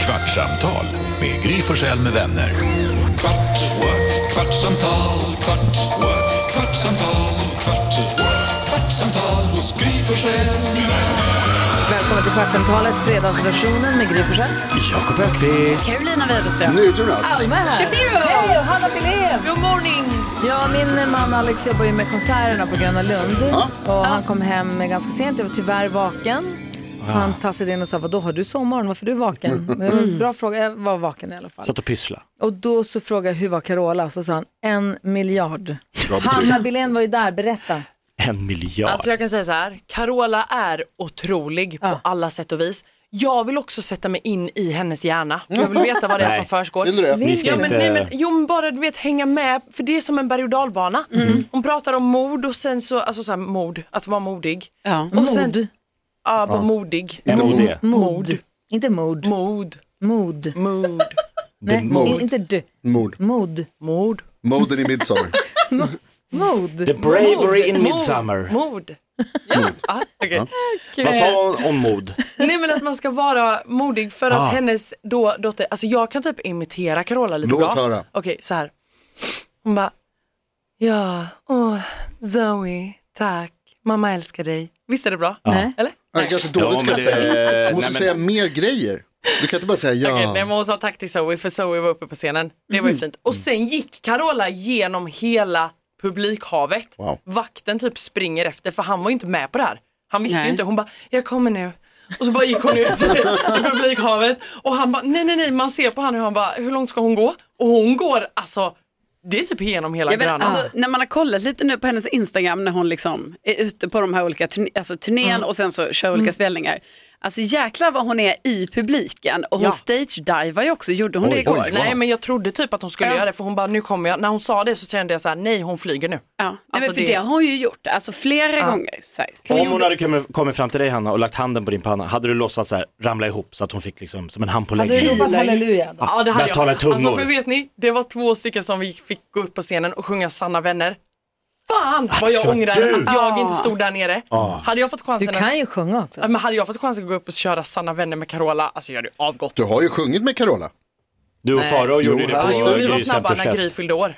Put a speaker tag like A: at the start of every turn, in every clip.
A: Kvartsamtal med Gry Forssell med vänner. Kvart, what? kvartsamtal, kvart, what? kvartsamtal, kvart, what? kvartsamtal hos Gry Forssell med vänner.
B: Välkommen till Kvartsamtalet, fredagsversionen med Gry Forssell.
C: Jakob Ökvist.
D: Carolina Widerström.
E: NyhetsJonas.
B: Alma är här.
D: Shapiro.
B: Hej, och Hanna Billén.
D: Good morning!
B: Ja, min man Alex jobbar ju med konserterna på Gröna Lund. Och han kom hem ganska sent, jag var tyvärr vaken. Han tassade in och sa, vadå har du sovmorgon, varför är du vaken?
E: Mm.
B: Men det var
D: Mm.
B: en bra fråga, jag var vaken i alla fall.
C: Satt och pyssla.
B: Och då så frågade jag, hur var Carola? Så sa han, en miljard.
E: Bra betyg.
B: Hanna Billén var ju där, berätta.
C: En miljard.
D: Alltså jag kan säga så här, Carola är otrolig på
B: Ja.
D: alla sätt och vis. Jag vill också sätta mig in i hennes hjärna. Jag vill veta vad det är
C: Nej.
D: som försiggår.
E: Vill du det?
C: Ni ska
D: Ja,
C: inte...
D: men, nej, men, jo men bara du vet hänga med, för det är som en berg och dalbana.
B: Mm.
D: Hon pratar om mord och sen så, alltså så här, mord, att vara modig.
F: Ja.
D: Och sen,
B: Mod.
D: Ja, vara modig.
C: MOD.
B: Mod. Inte mod.
D: Mod,
B: Mod.
D: mod,
B: Nej,
E: mod.
B: inte du.
E: Mord.
B: Mod.
D: mod.
E: Moden i Midsommar.
C: The
B: Mod.
C: bravery in
D: Mod,
C: midsummer.
D: Mod. Ja, ah, okej.
C: Vad sa hon om mod?
D: Nej men att man ska vara modig för att
C: Ah.
D: hennes då dotter, alltså jag kan typ imitera Carola lite
E: Låt
D: bra.
E: höra.
D: Okej, så här. Hon bara, ja, åh, Zoe, tack, mamma älskar dig. Visst är det bra?
B: Nej.
D: Eller?
E: Nej, ganska dåligt
C: Ja,
E: ska
C: men
E: jag
C: det- eh,
E: säga. Du
C: nej,
E: måste
C: men-
E: säga mer grejer. Du kan inte bara säga
D: Okej, nej,
E: ja. Mm.
D: men hon sa tack till Zoe för Zoe var uppe på scenen. Det var ju fint. Och sen gick Carola genom hela publikhavet.
E: Wow.
D: Vakten typ springer efter för han var ju inte med på det här. Han visste ju
F: Nej.
D: inte. Hon bara, jag kommer nu. Och så bara gick hon ut i publikhavet och han bara, nej nej nej, man ser på han hur han bara, hur långt ska hon gå? Och hon går alltså, det är typ genom hela
F: Jag vet,
D: Gröna.
F: alltså, när man har kollat lite nu på hennes Instagram när hon liksom är ute på de här olika turn- alltså, turnén och sen så kör olika spelningar. Alltså jäklar vad hon är i publiken och hon
D: Ja.
F: stage-divar ju också, gjorde hon det igår?
E: oj.
D: Nej men jag trodde typ att hon skulle göra det för hon bara, nu kommer jag. När hon sa det så kände jag så här, nej hon flyger nu.
F: Ja. Nej,
D: Alltså,
F: men för
D: det-
F: det... har hon ju gjort, alltså flera gånger. Så här.
C: Om hon hade kommit- kommit fram till dig Hanna och lagt handen på din panna, hade du låtsats så här, ramla ihop så att hon fick liksom, som en hand på
B: Hade du
C: läggen?
B: ropat halleluja? då?
D: Ja, det hade
C: Där talar
D: jag. Alltså,
C: tungor.
D: för vet ni, det var två stycken som vi fick gå upp på scenen och sjunga Sanna vänner. Fan vad jag
C: ska
D: ångrar
C: du.
D: att jag inte stod där nere. Hade jag fått
B: Du
D: chansen att...
B: kan ju sjunga också.
D: Ja, Men hade jag fått chansen att gå upp och köra Sanna vänner med Carola, alltså jag hade ju avgått.
E: Du har ju sjungit med Carola.
C: Du och Farao gjorde
E: Jo,
C: det
E: här
C: på
E: står
D: vi var
C: Grys
D: snabba när
C: centerfest.
D: Gry fyllde år.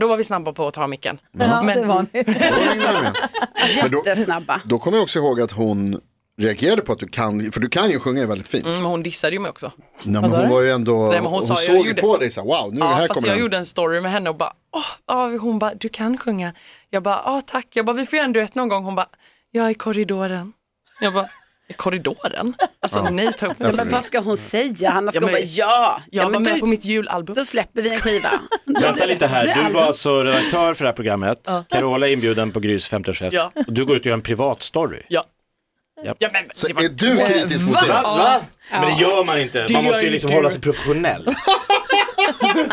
D: Då var vi snabba på att ta micken.
B: Ja, det var ni.
E: Men då-
F: Jättesnabba.
E: Då kommer jag också ihåg att hon reagerade på att du kan, för du kan ju sjunga väldigt fint.
D: Men hon dissade ju mig också.
E: Nej, men hon var ju ändå,
D: Mm. Nej, men
E: hon,
D: hon sa ju,
E: såg
D: jag
E: ju
D: gjorde-
E: på dig så här, wow, nu är det
D: Ja,
E: här
D: fast
E: kommer
D: jag
E: den.
D: gjorde en story med henne och bara, åh, ja, hon bara, du kan sjunga. Jag bara, ja tack. Jag bara, vi får göra en duett någon gång. Hon bara, jag är i korridoren. Jag bara, i korridoren? Alltså nej, ta upp
E: Ja,
F: Men vad ska hon säga? Hanna ska
D: Ja,
F: ja,
D: men-
F: bara ja.
D: Jag
F: ja
D: var
F: men
D: med
F: då,
D: på mitt julalbum.
F: då släpper vi en skiva. Alltså,
C: Vänta lite
F: Det
C: här,
F: är
C: du var alltså redaktör för det här programmet, Carola är inbjuden på Grys 50-årsfest
D: Ja.
C: och du går ut och gör en privat story.
D: Ja.
C: Ja.
D: men,
E: Så
D: det var-
E: är du kritisk mot det?
C: Va? Men det gör man inte,
D: Det
C: man måste
D: gör
C: ju liksom
D: inte du.
C: hålla sig professionell.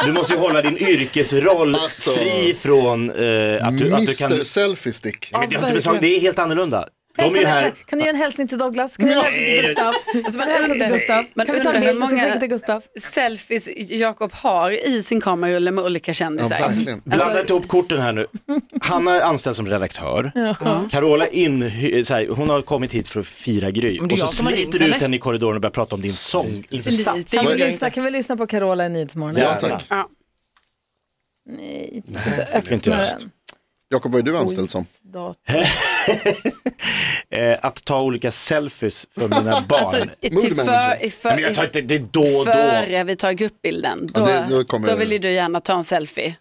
C: Du måste ju hålla din yrkesroll
E: Alltså.
C: fri från eh, att, du, att du kan...
E: Mr Selfie Stick.
C: Men det, har inte blivit sagt, det är helt annorlanda. De är ju här,
B: Kan du göra en hälsning till Douglas? Kan du göra en hälsning till Gustav? Kan du göra en
F: man
B: hälsning till
F: undrar-
B: Gustav?
F: man
B: Kan vi ta en
F: undrar
B: bild
F: hur
B: och så
F: många-
B: skicka till Gustav?
F: Selfies Jakob har i sin kamerarulle med olika kändisar.
E: Ja, verkligen.
C: blanda
D: Alltså-
C: inte ihop korten här nu. Hanna är anställd som redaktör, Carola in, så här, hon har kommit hit för att fira Gry
D: det är
C: och så
D: jag som har
C: sliter
D: ringt
C: du ut
D: henne.
C: henne i korridoren och börjar prata om din sång. Inte
D: Sliter.
C: sant?
B: Kan
D: gör
B: vi,
D: jag
B: lyssna,
D: inte.
B: kan vi lyssna på Carola i Nyhetsmorgon?
E: Ja tack.
F: Ja.
C: Fick vi inte göra.
E: Jakob, vad är du anställd som?
B: Dator.
C: Eh, att ta olika selfies för mina barn.
F: Alltså, i,
E: Mood
F: till för, i, för,
C: Nej, men jag tar inte, det är då och då.
F: före vi tar gruppbilden, då,
E: Ja, det- då
F: då,
E: kommer-
F: vill ju du gärna ta en selfie.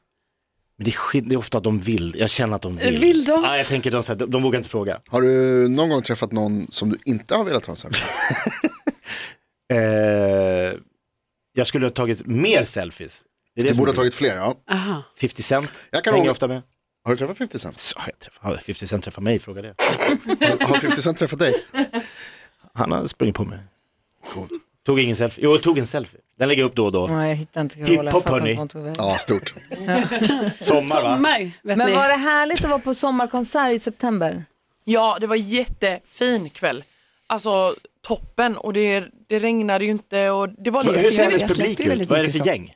C: Men det, är, skit- det är ofta att de vill, jag känner att de vill.
F: Vill de?
C: Ja, jag tänker de, så här, de, de vågar inte fråga.
E: Har du någon gång träffat någon som du inte har velat ha en selfie?
C: Eh, jag skulle ha tagit mer selfies. Det är det
E: Du
C: som
E: borde
C: är
E: ha tagit fler, ja.
C: 50 Cent
E: Jag kan
C: hänger
E: ångra-
C: ofta med.
E: Har du träffat 50 Cent?
C: Så, jag träffar, har 50 Cent träffar mig, fråga det.
E: Har 50 Cent träffat dig?
C: Han har sprungit på mig.
E: Coolt.
C: Tog ingen selfie. Jo, jag tog en selfie. Den lägger jag upp då och
D: Mm.
C: då.
B: Nej, jag hittar inte Carola.
C: Hiphop,
B: Jag fattar
C: hörni.
B: inte vad hon tog vägen.
E: Ja, stort.
C: Sommar va?
F: Sommar, vet
B: Men
F: ni.
B: var det härligt att vara på sommarkonsert i september?
D: Ja, det var jättefin kväll. Alltså toppen och det, det regnade ju inte och det var
C: Hur ser hennes
D: jättefint.
C: publik ut? Vad är det för gäng?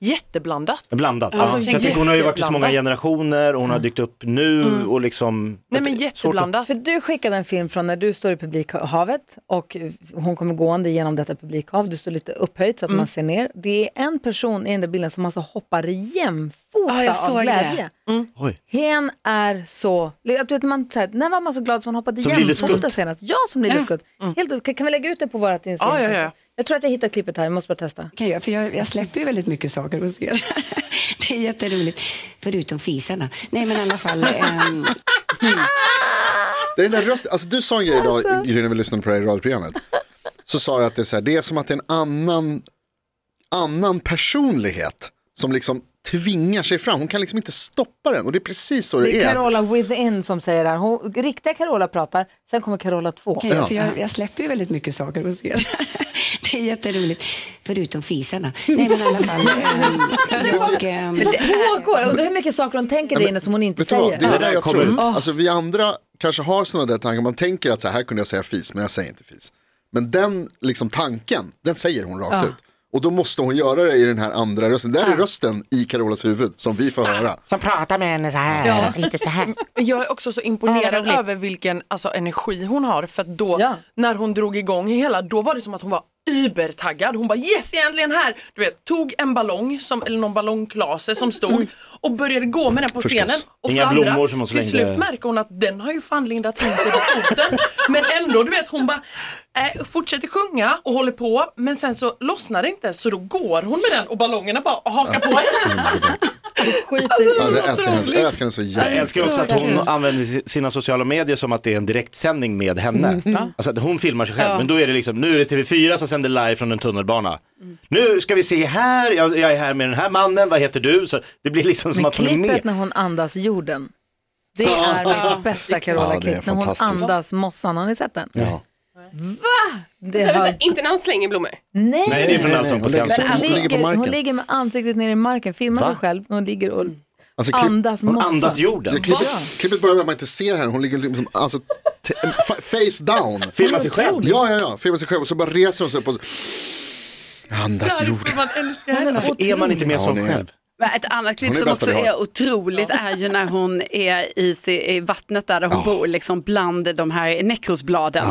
D: jätteblandat.
C: Blandat.
D: Alltså,
C: ja. Så jag tänker, hon har ju varit i så många
D: jätteblandat. Mm.
C: generationer och hon har dykt upp nu och liksom...
D: Nej men
C: Svårt att-
D: jätteblandat.
B: För du skickade en film från när du står i publikhavet och hon kommer gående genom detta publikhav. Du står lite upphöjt så att man ser ner. Det är en person i den där bilden som alltså hoppar jämfota
F: Ja, jag
B: av
F: såg
B: glädje.
C: Oj.
B: Hen är så, att du vet, man, så här, när var man så glad som man hoppade
C: Som Lille
B: jämfota
C: Skutt.
B: senast? Ja, som Lille Skutt. Helt, kan, kan vi lägga ut det på vårt Instagram?
D: Ja, ja, ja.
B: Jag tror att jag hittar klippet här, jag måste bara testa.
G: kan jag, för jag, jag släpper ju väldigt mycket saker hos er. Det är jätteroligt. Förutom fisarna. Nej, men i alla fall. ehm,
E: Det är den där rösten. Alltså, du sa en grej idag, Gry, när vi lyssnade på det här i radioprogrammet. Så sa du att det är, så här, det är som att det är en annan, annan personlighet som liksom tvingar sig fram. Hon kan liksom inte stoppa den och det är precis så det,
B: Det är
E: är.
B: Carola Within som säger det här. Hon, riktiga Carola pratar, sen kommer Carola 2.
G: kan jag, för jag, jag släpper ju väldigt mycket saker hos er. Det är jätteroligt. Förutom fisarna. Nej, men i alla fall. ehm, jag, ehm,
B: Vad pågår? Jag Undrar hur mycket saker hon tänker där inne som hon inte
E: Vet du vad,
B: säger. Ah.
E: det är
C: Det
E: det där
C: där
E: jag
C: kommer
E: tror.
C: ut.
E: Alltså, vi andra kanske har sådana där tankar. Man tänker att så här, här kunde jag säga fis, men jag säger inte fis. Men den liksom, tanken, den säger hon rakt
B: Ah.
E: ut. Och då måste hon göra det i den här andra rösten. Där är rösten i Carolas huvud som vi får höra.
H: som pratar med henne så här, lite så här.
D: Men Jag är också så imponerad över vilken alltså, energi hon har för att då
B: Ja.
D: när hon drog igång hela då var det som att hon var übertaggad. Hon bara yes jag är äntligen här. Du vet tog en ballong som, eller någon ballongklase som stod och började gå med den på
E: Förstås.
D: scenen och
C: Inga
D: fladdra.
C: blommor som hon
D: Till
C: slängde.
D: slut märker hon att den har ju fan lindat in sig på foten. Men ändå du vet hon bara eh, fortsätter sjunga och håller på men sen så lossnar det inte så då går hon med den och ballongerna bara hakar på henne.
E: Ja, Alltså, jag, älskar henne, så- jag älskar henne så
C: Jag
E: jävla
C: älskar också att hon använder sina sociala medier som att det är en direktsändning med henne. Alltså att hon filmar sig själv, men då är det liksom, nu är det TV4 som sänder live från en tunnelbana. Nu ska vi se här, jag, jag är här med den här mannen, vad heter du? Så det blir liksom som
B: Men
C: att hon är
B: klippet
C: med.
B: när hon andas jorden. Det är mitt bästa
E: Ja,
B: Carola-klipp.
E: det
B: när
E: är
B: hon
E: fantastiskt.
B: andas mossan. Har ni sett den?
E: Ja.
B: Va? Det har...
I: Inte när hon slänger blommor.
B: Nej!
C: Nej, det är från Allsång på
E: Hon lägger sig-
C: Skansen.
B: hon,
E: hon ligger på
B: ligger, hon
E: marken.
B: ligger med ansiktet ner i marken, filmar
C: Va?
B: sig själv. Hon ligger och
E: Alltså, klipp-
B: andas
C: Hon
B: mossan.
C: andas jorden.
E: Ja, klippet, klippet börjar med att man inte ser henne, hon ligger liksom, alltså, te- fa- face down.
C: Filmar sig själv.
E: Ja, ja, ja, filmar sig själv och så bara reser hon sig upp och så... Andas jord.
D: Man älskar henne.
C: Varför är man inte med
E: Ja,
C: som
E: hon är-
C: själv?
F: Men Ett annat
E: Hon
F: klipp
E: är
F: som
E: bästa
F: också
E: vi har.
F: är otroligt är ju när hon är i, sig, i vattnet där, där hon bor, liksom bland de här nekrosbladen.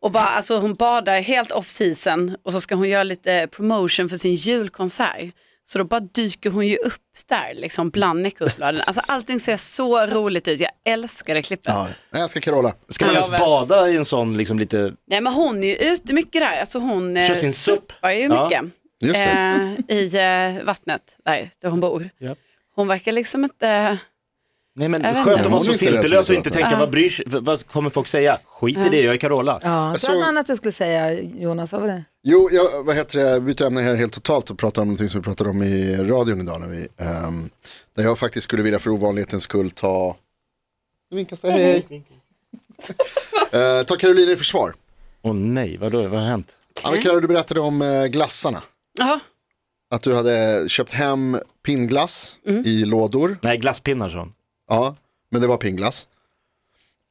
F: Och bara, alltså, hon badar helt off season och så ska hon göra lite promotion för sin julkonsert. Så då bara dyker hon ju upp där, liksom bland nekrosbladen. Alltså allting ser så roligt ut, jag älskar det klippet.
E: Ja, jag älskar Carola.
C: Ska man ens bada i en sån liksom lite,
F: Nej men hon är ju ute mycket där, alltså hon eh,
C: Kör sin supp.
F: suppar ju
C: Ja.
F: mycket
E: Just det.
F: eh, i eh, vattnet där, där hon bor.
C: Ja.
F: Hon verkar liksom inte...
C: nej men
F: Jag vet
C: skönt
F: inte.
C: att
E: Hon
C: vara
E: är
C: så
E: inte rädd
C: filterlös
E: för
C: och
E: det,
C: inte
E: tror
C: tänka vad bryr sig, vad- vad kommer folk säga? Skit i det, jag är Carola.
B: Ja, så
E: såg-
B: något annat du skulle säga, Jonas, vad var det?
E: Jo, jag vad heter det, byter ämne här helt totalt och pratar om någonting som vi pratade om i radion idag. När vi, ehm, där jag faktiskt skulle vilja för ovanlighetens skull ta... Nu vinkas det, hej hej. Eh, ta Caroline i försvar.
C: Åh nej, vadå, vad har hänt?
E: Ja, men Caroline, du berättade om eh, glassarna.
F: Jaha.
E: Att du hade köpt hem pinnglass i lådor.
C: Nej, glasspinnar sa hon.
E: Ja, men det var pingglass.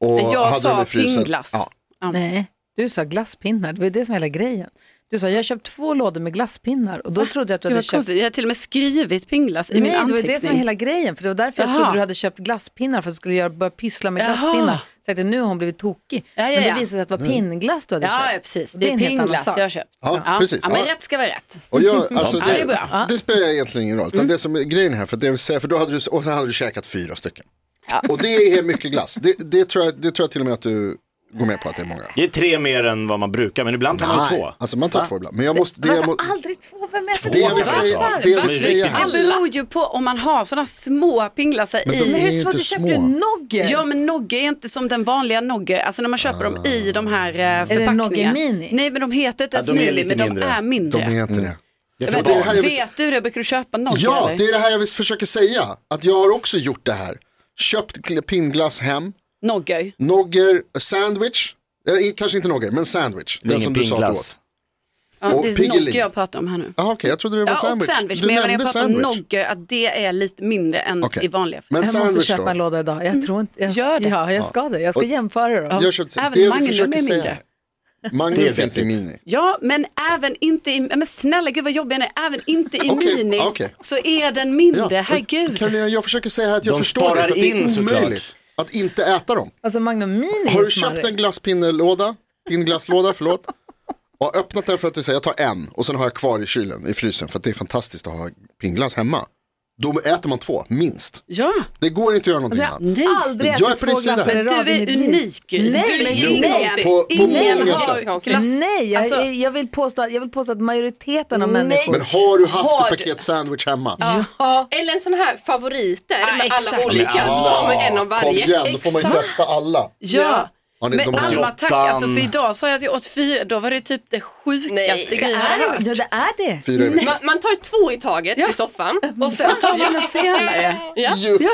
E: Och
F: Nej, jag
E: hade
F: sa
E: den i frysen.
F: pingglass.
E: Ja.
B: Nej, du sa glasspinnar. Det var ju det som var hela grejen. Du sa, jag har köpt två lådor med glasspinnar och då trodde jag att du
F: Gud,
B: hade
F: vad
B: köpt
F: konstigt. Jag har till och med skrivit pingglass i min
B: Nej, det var
F: anteckning.
B: ju det som var hela grejen. För det var därför jag
F: Jaha.
B: trodde du hade köpt glasspinnar för att du skulle göra, börja pyssla med
F: Jaha.
B: glasspinnar. Så jag tänkte nu har hon blivit tokig.
F: Ja, ja,
B: Men det
F: ja.
B: visade sig att det var pinnglass du hade
F: Ja, ja,
B: köpt.
F: precis.
B: Och
F: Det
B: det är
F: är
B: en helt annan
F: pingglass
B: sak.
F: jag har köpt.
E: Ja, precis.
F: Ja, men
E: Ja.
F: rätt ska vara rätt.
E: Och jag, alltså,
F: Ja, Mm. det
E: det,
F: är bra.
E: det spelar egentligen ingen roll. Utan Det som är grejen här, för, det vill säga, för då hade du, och sen hade du käkat fyra stycken. Och det är mycket glass. Det, det, tror jag, det tror jag till och med att du går med på att det är många.
C: Det är tre mer än vad man brukar, men ibland tar man ju två.
E: Alltså man tar två ibland. Men jag måste, det,
B: Man
E: jag
B: tar
E: må,
B: aldrig två, vem äter
E: det
B: två
E: jag vill säga, det jag
C: Men
E: vill säga
C: riktigt.
E: här.
F: Det beror ju på om man har sådana små pingglassar
E: Men de
F: i.
E: är
B: Men hur
E: ju
B: små,
E: inte
B: du köpte ju
E: små.
B: Nogge.
F: Ja men nogge är inte som den vanliga nogge, alltså när man köper dem i de här eh, förpackningarna.
B: Nogge Mini?
F: Nej men de heter inte ens
C: de är
F: mini,
C: lite
F: men de
C: mindre.
F: är mindre.
E: De är inte
C: Mm.
E: det.
C: Det är för
F: men,
E: det här
C: barn.
E: jag vill-
F: vet du det, brukar du köpa nogge
E: Ja,
F: eller?
E: det är det här jag vill försöka säga. Att jag har också gjort det här. Köpt gl- pinnglass hem,
F: Nogge.
E: nogger, sandwich. Eh, i- kanske inte nogger, men sandwich.
C: Det är
E: Den
C: ingen
E: som du sa att du åt.
C: pingglass.
F: Ja,
E: Och
F: det är
E: Piggelin.
F: nogge jag pratar om här nu.
E: Jaha, okej, jag trodde det var
F: Ja,
E: sandwich.
F: och sandwich,
E: Du
F: men jag menar,
E: nämnde
F: jag pratar om
E: sandwich.
F: nogge, att det är lite mindre än
E: Okej.
F: i vanliga
E: Men
B: Jag måste
E: sandwich
B: köpa
E: då?
B: en låda idag. Jag tror inte... Jag,
F: Gör det.
B: Ja, jag ska det. Jag ska jämföra dem.
E: Jag köpte,
F: Även
E: det jag
F: Magnum
E: försöker
F: är
E: säga
F: mindre.
E: här Magnum finns i mini.
F: Ja, men även inte i, men snälla gud vad jobbig jag är, även inte i
E: Okej,
F: mini
E: okej.
F: så är den mindre, herregud.
E: Carolina, jag försöker säga här att jag
C: De
E: förstår det,
C: sparar
E: för att det
C: in
E: är
C: såklart.
E: omöjligt att inte äta dem.
B: Alltså Magnum Mini
E: Har
B: är
E: du köpt
B: smarrig.
E: en glasspinnelåda, pinnglasslåda, förlåt, och öppnat den för att du säger jag tar en och sen har jag kvar i kylen, i frysen, för att det är fantastiskt att ha pinnglass hemma. Då äter man två, minst.
F: Ja,
E: Det går inte att göra någonting annat.
F: nej.
B: Aldrig
E: Jag
B: ätit två
E: är på din sida.
B: glassar i
E: Men
B: rad
F: Du
B: i
F: är
B: mitt liv.
F: unik.
B: Nej,
F: du
B: men
F: är
B: jo,
F: ingen,
E: på- på
F: ingen
E: många
F: har
E: sätt.
F: glass.
B: Nej, jag,
F: Alltså-
B: jag, vill påstå, jag vill påstå att majoriteten av människor...
E: Men har du haft
I: Har
E: ett
I: du-
E: paket sandwich hemma?
I: Eller en sån här favoriter med alla
F: exakt.
I: olika. Då tar man en av
E: Kom
I: varje.
E: igen, då får man ju
I: Exakt.
E: testa alla.
F: Ja.
E: Har ni
F: Men
E: de här-
F: Alma tack, alltså, för
C: Jottan.
F: idag sa jag att jag åt fyra, då var det typ det sjukaste
I: Nej.
F: grejen jag har hört.
B: Ja, det är det.
E: Fyra i veckan.
I: Man, man tar två i taget i soffan.
F: Och sen tar man en senare.
I: Ja.
E: Ju-
F: Ja,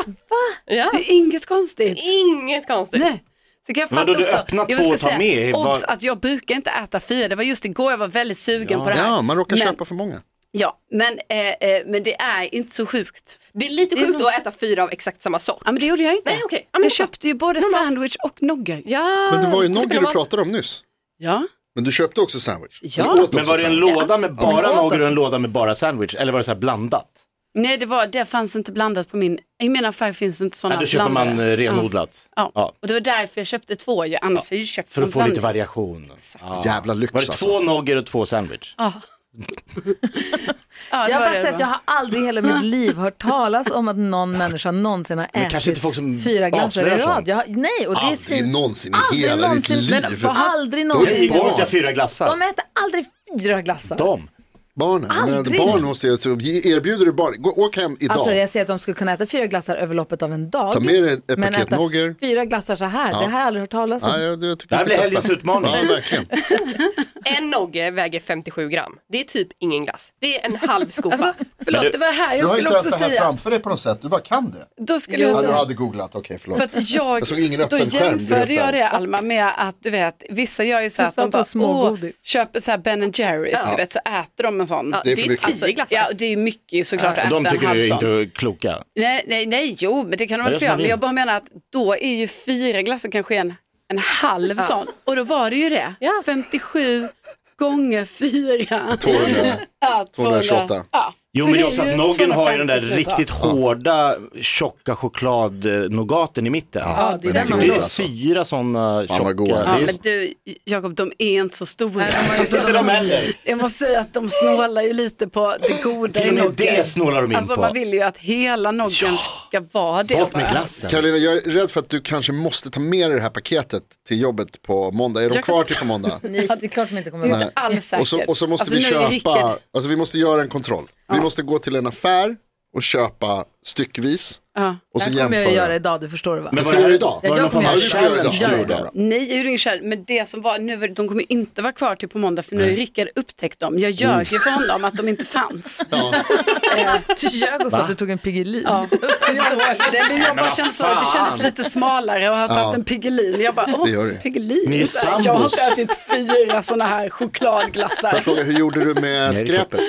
I: Ja.
F: det är inget konstigt.
I: Inget konstigt.
F: Nej. Så kan jag
C: Men
F: fatta
C: då du
F: också.
C: öppnar
F: jag
C: två
F: ska
C: och tar
F: säga,
C: med, var-
F: Obs, att jag brukar inte äta fyra. Det var just igår jag var väldigt sugen på det här.
E: Ja, man råkar
F: Men-
E: köpa för många.
F: Ja, men, eh, eh, men det är inte så sjukt.
I: Det är lite sjukt att äta fyra av exakt samma sort.
F: Ja, men det gjorde jag inte.
I: Nej, okej. Ja,
F: jag
I: men det är bra.
F: köpte ju både
I: Normalt.
F: sandwich och nugget.
I: Ja,
E: Men det
B: Äh,
E: var ju nogger du
I: supernormalt.
E: pratade om nyss.
F: Ja.
E: Men du köpte också sandwich.
F: Ja.
E: Men du åt
C: Men
E: också
C: var det en
E: sandwich.
C: låda med bara
B: Ja.
C: nogger och en låda med bara sandwich? Eller var det så här blandat?
F: Nej, det, var, det fanns inte blandat på min. I min affär finns inte sådana
C: Nej, då köper
F: blandade.
C: man eh, renodlat.
F: Ja. Ja.
C: Ja.
F: och det var därför jag köpte två ju. Annars hade jag ju köpt
C: För att
F: en
C: få lite
F: blandad.
C: variation. Ja.
E: Jävla lyx
C: Var det
E: alltså.
C: två nogger och två sandwich?
F: Ja, det
B: Jag har
F: var
B: bara
F: det det
B: sett, jag
F: var.
B: har aldrig i hela mitt liv hört talas om att någon människa någonsin har
C: Men
B: ätit
C: kanske inte folk som
B: fyra glassar i
C: avslöjar
B: rad.
C: sånt.
B: Jag har, nej, och det är
E: Aldrig
B: svin...
E: någonsin i
B: Aldrig
E: hela
B: någonsin,
E: ditt
B: men
E: liv.
B: vad- aldrig
E: Då är
B: någonsin.
E: det
C: Igår åt jag
E: barn.
C: fyra glassar.
B: De äter aldrig fyra glassar.
C: De.
E: Barnen, men
B: Aldrig.
E: barn måste ju, erbjuder du barn, gå, åk hem idag.
B: Alltså jag säger att de skulle kunna äta fyra glassar över loppet av en dag.
E: Ta med dig ett
B: men
E: paket
B: äta
E: nogger.
B: fyra glassar så här, det här har jag aldrig hört talas om.
E: ja, jag, jag tycker
C: Det här
E: du
C: blir
E: ska
C: helgens
E: testa.
C: utmaning.
E: Ja, verkligen.
I: En nogge väger 57 gram. Det är typ ingen glass. Det är en halv skopa.
F: Alltså, förlåt, det var här jag skulle också säga.
E: framför dig på något sätt, du bara kan det.
F: Då skulle jag
B: Alltså-
F: säga.
E: hade googlat, okej förlåt.
F: För att jag,
E: Jag såg ingen
F: då
E: öppen skärm, du vet,
F: jämförde
E: så här.
F: jag det Alma med att du vet, vissa gör ju så här
B: Du
F: att
B: sa
F: de
B: att det
F: bara
B: var
F: Åh,
B: smågodis."
F: köper så här Ben Jerrys, du vet, så äter de en sån.
I: Ja,
E: Det är
I: det
E: för
I: är
E: mycket.
I: tio glassar.
F: Ja, och det är mycket såklart att
C: Och
F: äta
C: de
F: en
C: tycker
F: halv
C: du
F: sån.
C: inte är kloka.
F: Nej, nej, nej, jo, men det kan
C: det
F: de väl
C: är
F: få
C: som
F: göra.
C: man
F: Men
C: vill.
F: jag bara menar att då är ju fyra glassar kanske en, en halv sån. Och då var det ju det. 57 gånger fyra.
E: 200.
F: Ja,
E: 228.
F: Ja.
C: Jo
F: Så
C: men det är
F: ju
C: också att noggen har ju den där
F: 250 som jag
C: riktigt
F: sa.
C: hårda tjocka chokladnogaten i mitten.
B: Ja, det är
E: Men
B: den man
E: det
B: vill
C: Det
E: är
C: är
B: ha.
E: alltså.
C: fyra sådana
E: vad
C: tjocka.
E: goda.
F: Ja,
C: Det är-
F: men du, Jakob, de är inte så stora.
C: Inte de heller.
F: Jag måste säga att de snålar ju lite på det goda
C: Till
F: i
C: och med
F: noggen.
C: det snålar de in
F: Alltså man
C: på.
F: vill ju att hela noggen ska vara det.
C: Bort
F: bara.
C: med glassen.
E: Karolina, jag är rädd för att du kanske måste ta med dig det här paketet till jobbet på måndag. Är de
F: Jag
E: kvar till på måndag?
B: Nej, det är klart de inte kommer
F: Det är
B: vara.
F: inte alls säkert.
E: Och så, och så måste
F: Alltså,
E: vi
F: nu är det
E: köpa,
F: Rickard-
E: alltså vi måste göra en kontroll. Vi måste gå till en affär och köpa styckvis
F: Ja.
E: och
B: Det
E: så
B: här kommer jag att göra
E: jämföra.
B: idag, du förstår det va?
E: Men
C: var
E: ska
C: det
E: vi
C: här-
E: göra idag?
C: Var
B: Ja,
C: det någon
B: jag
C: form av
B: kommer
E: göra det.
C: challenge
E: Ja,
C: du
E: det gör
C: gjorde?
E: jag.
F: Nej, jag gjorde ingen kärlek, men det som var, nu, var- de kommer inte vara kvar till på måndag för nu har ju Rickard upptäckt dem. Jag ljög ju för honom att de inte fanns. Eh,
B: Du ljög och sa att du tog en Piggelin.
F: Ja. Det, men jag bara känns så, det kändes lite smalare och har tagit en Piggelin. Jag bara,
E: Det gör
F: åh,
E: det.
F: Piggelin.
C: Ni är
F: Så här, Jag har inte ätit fyra sådana här
E: Får
F: chokladglassar.
E: jag fråga, hur gjorde du med
C: det är
E: skräpet?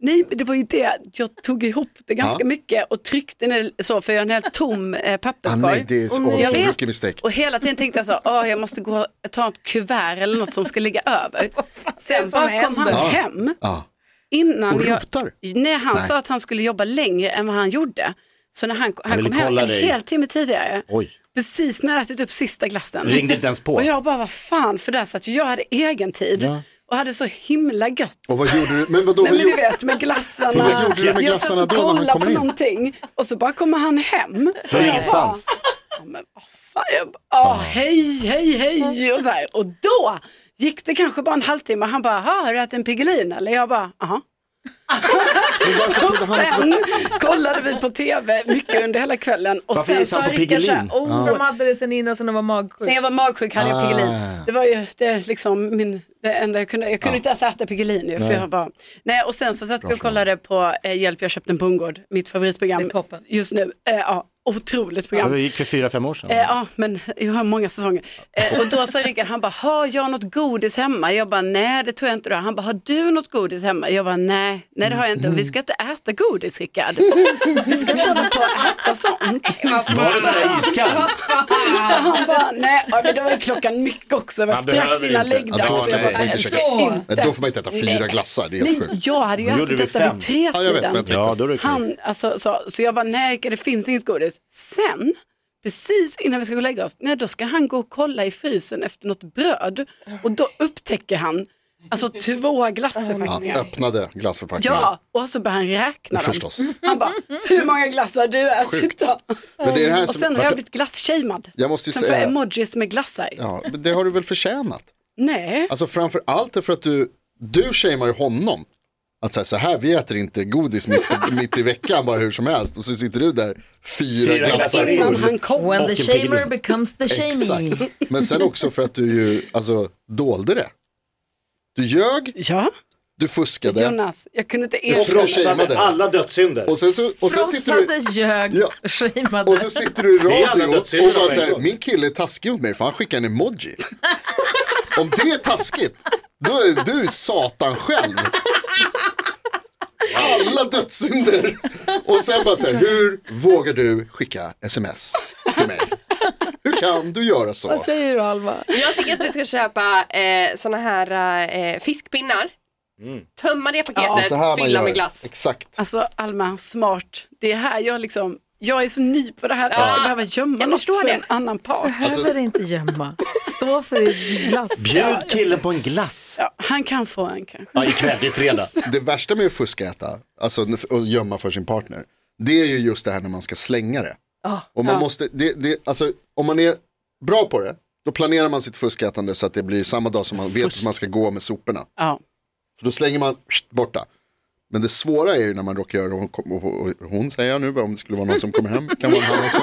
F: Nej, men det var ju det. Jag tog ihop det ganska mycket och tryckte ner så, för jag har en helt tom eh,
E: Ah,
F: papperskorg.
E: nej, det är
F: Och
E: så
F: jag
E: oh,
F: vet.
E: rookie mistake.
F: Och hela tiden tänkte jag så, åh, jag måste gå och ta ett kuvert eller något som ska ligga över. Sen
B: som
F: bara kom han
E: händer?
F: hem
E: Ja.
F: innan
E: Och
F: jag...
E: rotar.
F: Nej, han sa att han skulle jobba längre än vad han gjorde. Så när han, han
C: ville
F: kom hem
C: kolla
F: en
C: dig.
F: hel timme tidigare,
C: Oj,
F: precis när jag ätit upp sista glassen.
C: ringde inte ens på.
F: Och jag bara, vad fan, för där satt ju jag hade egen tid och hade så himla gött.
E: Och vad gjorde du? Men vadå,
F: Nej
E: vad
F: men du
E: gjorde
F: vet med glassarna.
E: Så vad gjorde du med
F: jag satt
E: glassarna
F: och
E: då när han
F: kollade
E: kommer
F: på
E: in?
F: någonting och så bara kommer han hem.
C: Från ingenstans.
F: Ja, men vad fan, jag bara, ah, hej, hej, hej och så här. Och då gick det kanske bara en halvtimme och han bara, "Ha, har du ätit en Piggelin eller? Jag bara, aha.
E: Varför trodde han att det var...
F: Sen kollade vi på tv mycket under hela kvällen och
C: Varför
F: sen
C: gissar
F: sa
C: han på
F: Rickard så här,
C: Piggelin?
F: oh,
B: De hade det sen innan sen de var magsjuka.
F: Sen jag var magsjuk hade jag Piggelin.
E: Ah.
F: Det var ju det, liksom min, det enda jag kunde. Jag kunde inte ens äta Piggelin ju, för jag bara. Nej, och sen så satt vi och kollade på eh, Hjälp jag köpte en bondgård, mitt favoritprogram
B: Det är toppen.
F: just nu. Eh, ja. otroligt program.
C: Det gick för fyra, fem år sedan.
F: Eh, ja, men jag har många säsonger. Eh, och då sa Rickard, han bara, har jag något godis hemma? Jag bara, nej det tror jag inte du har. Han bara, har du något godis hemma? Jag bara, nej, nej det har jag inte. Vi ska inte äta godis Rickard. Vi ska inte hålla på och äta sånt.
C: Var det där iskall?
F: Så han bara, nej, ja, men då var ju klockan mycket också. Det var
C: Man
F: strax
C: behöver
F: innan
C: inte.
E: Ja,
F: läggdags.
E: då-
F: Så jag bara,
E: nej, får
F: nej,
E: inte
F: jag
E: käka.
F: ska inte.
E: Då får man inte äta fyra glassar, det är helt sjukt.
F: Jag hade ju
C: Då gjorde
F: ätit
C: vi
F: detta
C: fem.
F: vid tre
E: Ja, jag vet,
F: tiden.
E: men-
C: Ja, då är det kul.
F: Han, alltså, så, så jag bara, nej Rickard, det finns inget godis. Sen, precis innan vi ska gå och lägga oss, nej, då ska han gå och kolla i frysen efter något bröd. Och då upptäcker han, alltså två
E: Ja,
F: glassförpackningar.
E: öppnade glassförpackningar.
F: Ja, och så börjar han räkna dem.
E: Förstås.
F: Han bara, hur många glassar har du ätit då?
E: Men det är det här
F: Och
E: som-
F: sen har jag blivit glasshamead.
E: Jag måste ju
F: Sen får
E: säga-
F: jag emojis med glassar.
E: Ja, men det har du väl förtjänat?
F: Nej,
E: Alltså framför allt är för att du, du shamear ju honom. Att säga så här, vi äter inte godis mitt, mitt i veckan bara hur som helst. Och så sitter du där, fyra,
C: Fyra
E: glassar
C: glassar in.
F: innan
E: full.
F: han kom.
B: When
C: Och
B: the
C: en
B: shamer
C: pingvin.
B: becomes the shamey.
E: Exakt. Men sen också för att du ju, alltså dolde det. Du ljög,
F: Ja,
E: du fuskade
F: Jonas, jag kunde inte
E: och
F: erkänna.
E: du shameade.
C: alla dödssynder.
E: Och sen, så, och sen sitter du...
B: Frossade, ljög,
E: Ja.
B: shameade.
E: Och så sitter du i
C: är alla
E: radio
C: dödssynder
E: och bara
C: på en
E: säger,
C: gång.
E: min kille är taskig mot mig för han skickar en emoji. Om det är taskigt, då är du satan själv. Alla dödssynder. Och sen bara säger, hur vågar du skicka sms till mig? Hur kan du göra så?
B: Vad säger du Alva?
I: Jag tycker att du ska köpa eh, såna här eh, fiskpinnar.
E: Mm.
I: Tömma det paketet,
E: Så här man
I: fylla
E: gör.
I: med glass.
E: Exakt.
F: Alltså Alma, smart. Det är här jag liksom, jag är så ny på det här att jag ska
I: Ja.
F: behöva gömma
I: Jag
F: något
I: förstår
F: för
I: det.
F: en annan part.
B: Behöver inte gömma. Stå för ditt glass.
C: Bjud killen på en glass.
F: Ja, han kan få en kanske.
C: Ja, ikväll, det är fredag.
E: Det värsta med att fuskäta, alltså och gömma för sin partner, det är ju just det här när man ska slänga det. och man måste, det, det, alltså, om man är bra på det, då planerar man sitt fuskätande så att det blir samma dag som man vet att man ska gå med soporna.
F: Ja.
E: För då slänger man pst, borta. Men det svåra är ju när man råkar göra, hon, kom- och- och- och hon säger jag nu, om det skulle vara någon som kommer hem, kan vara han också.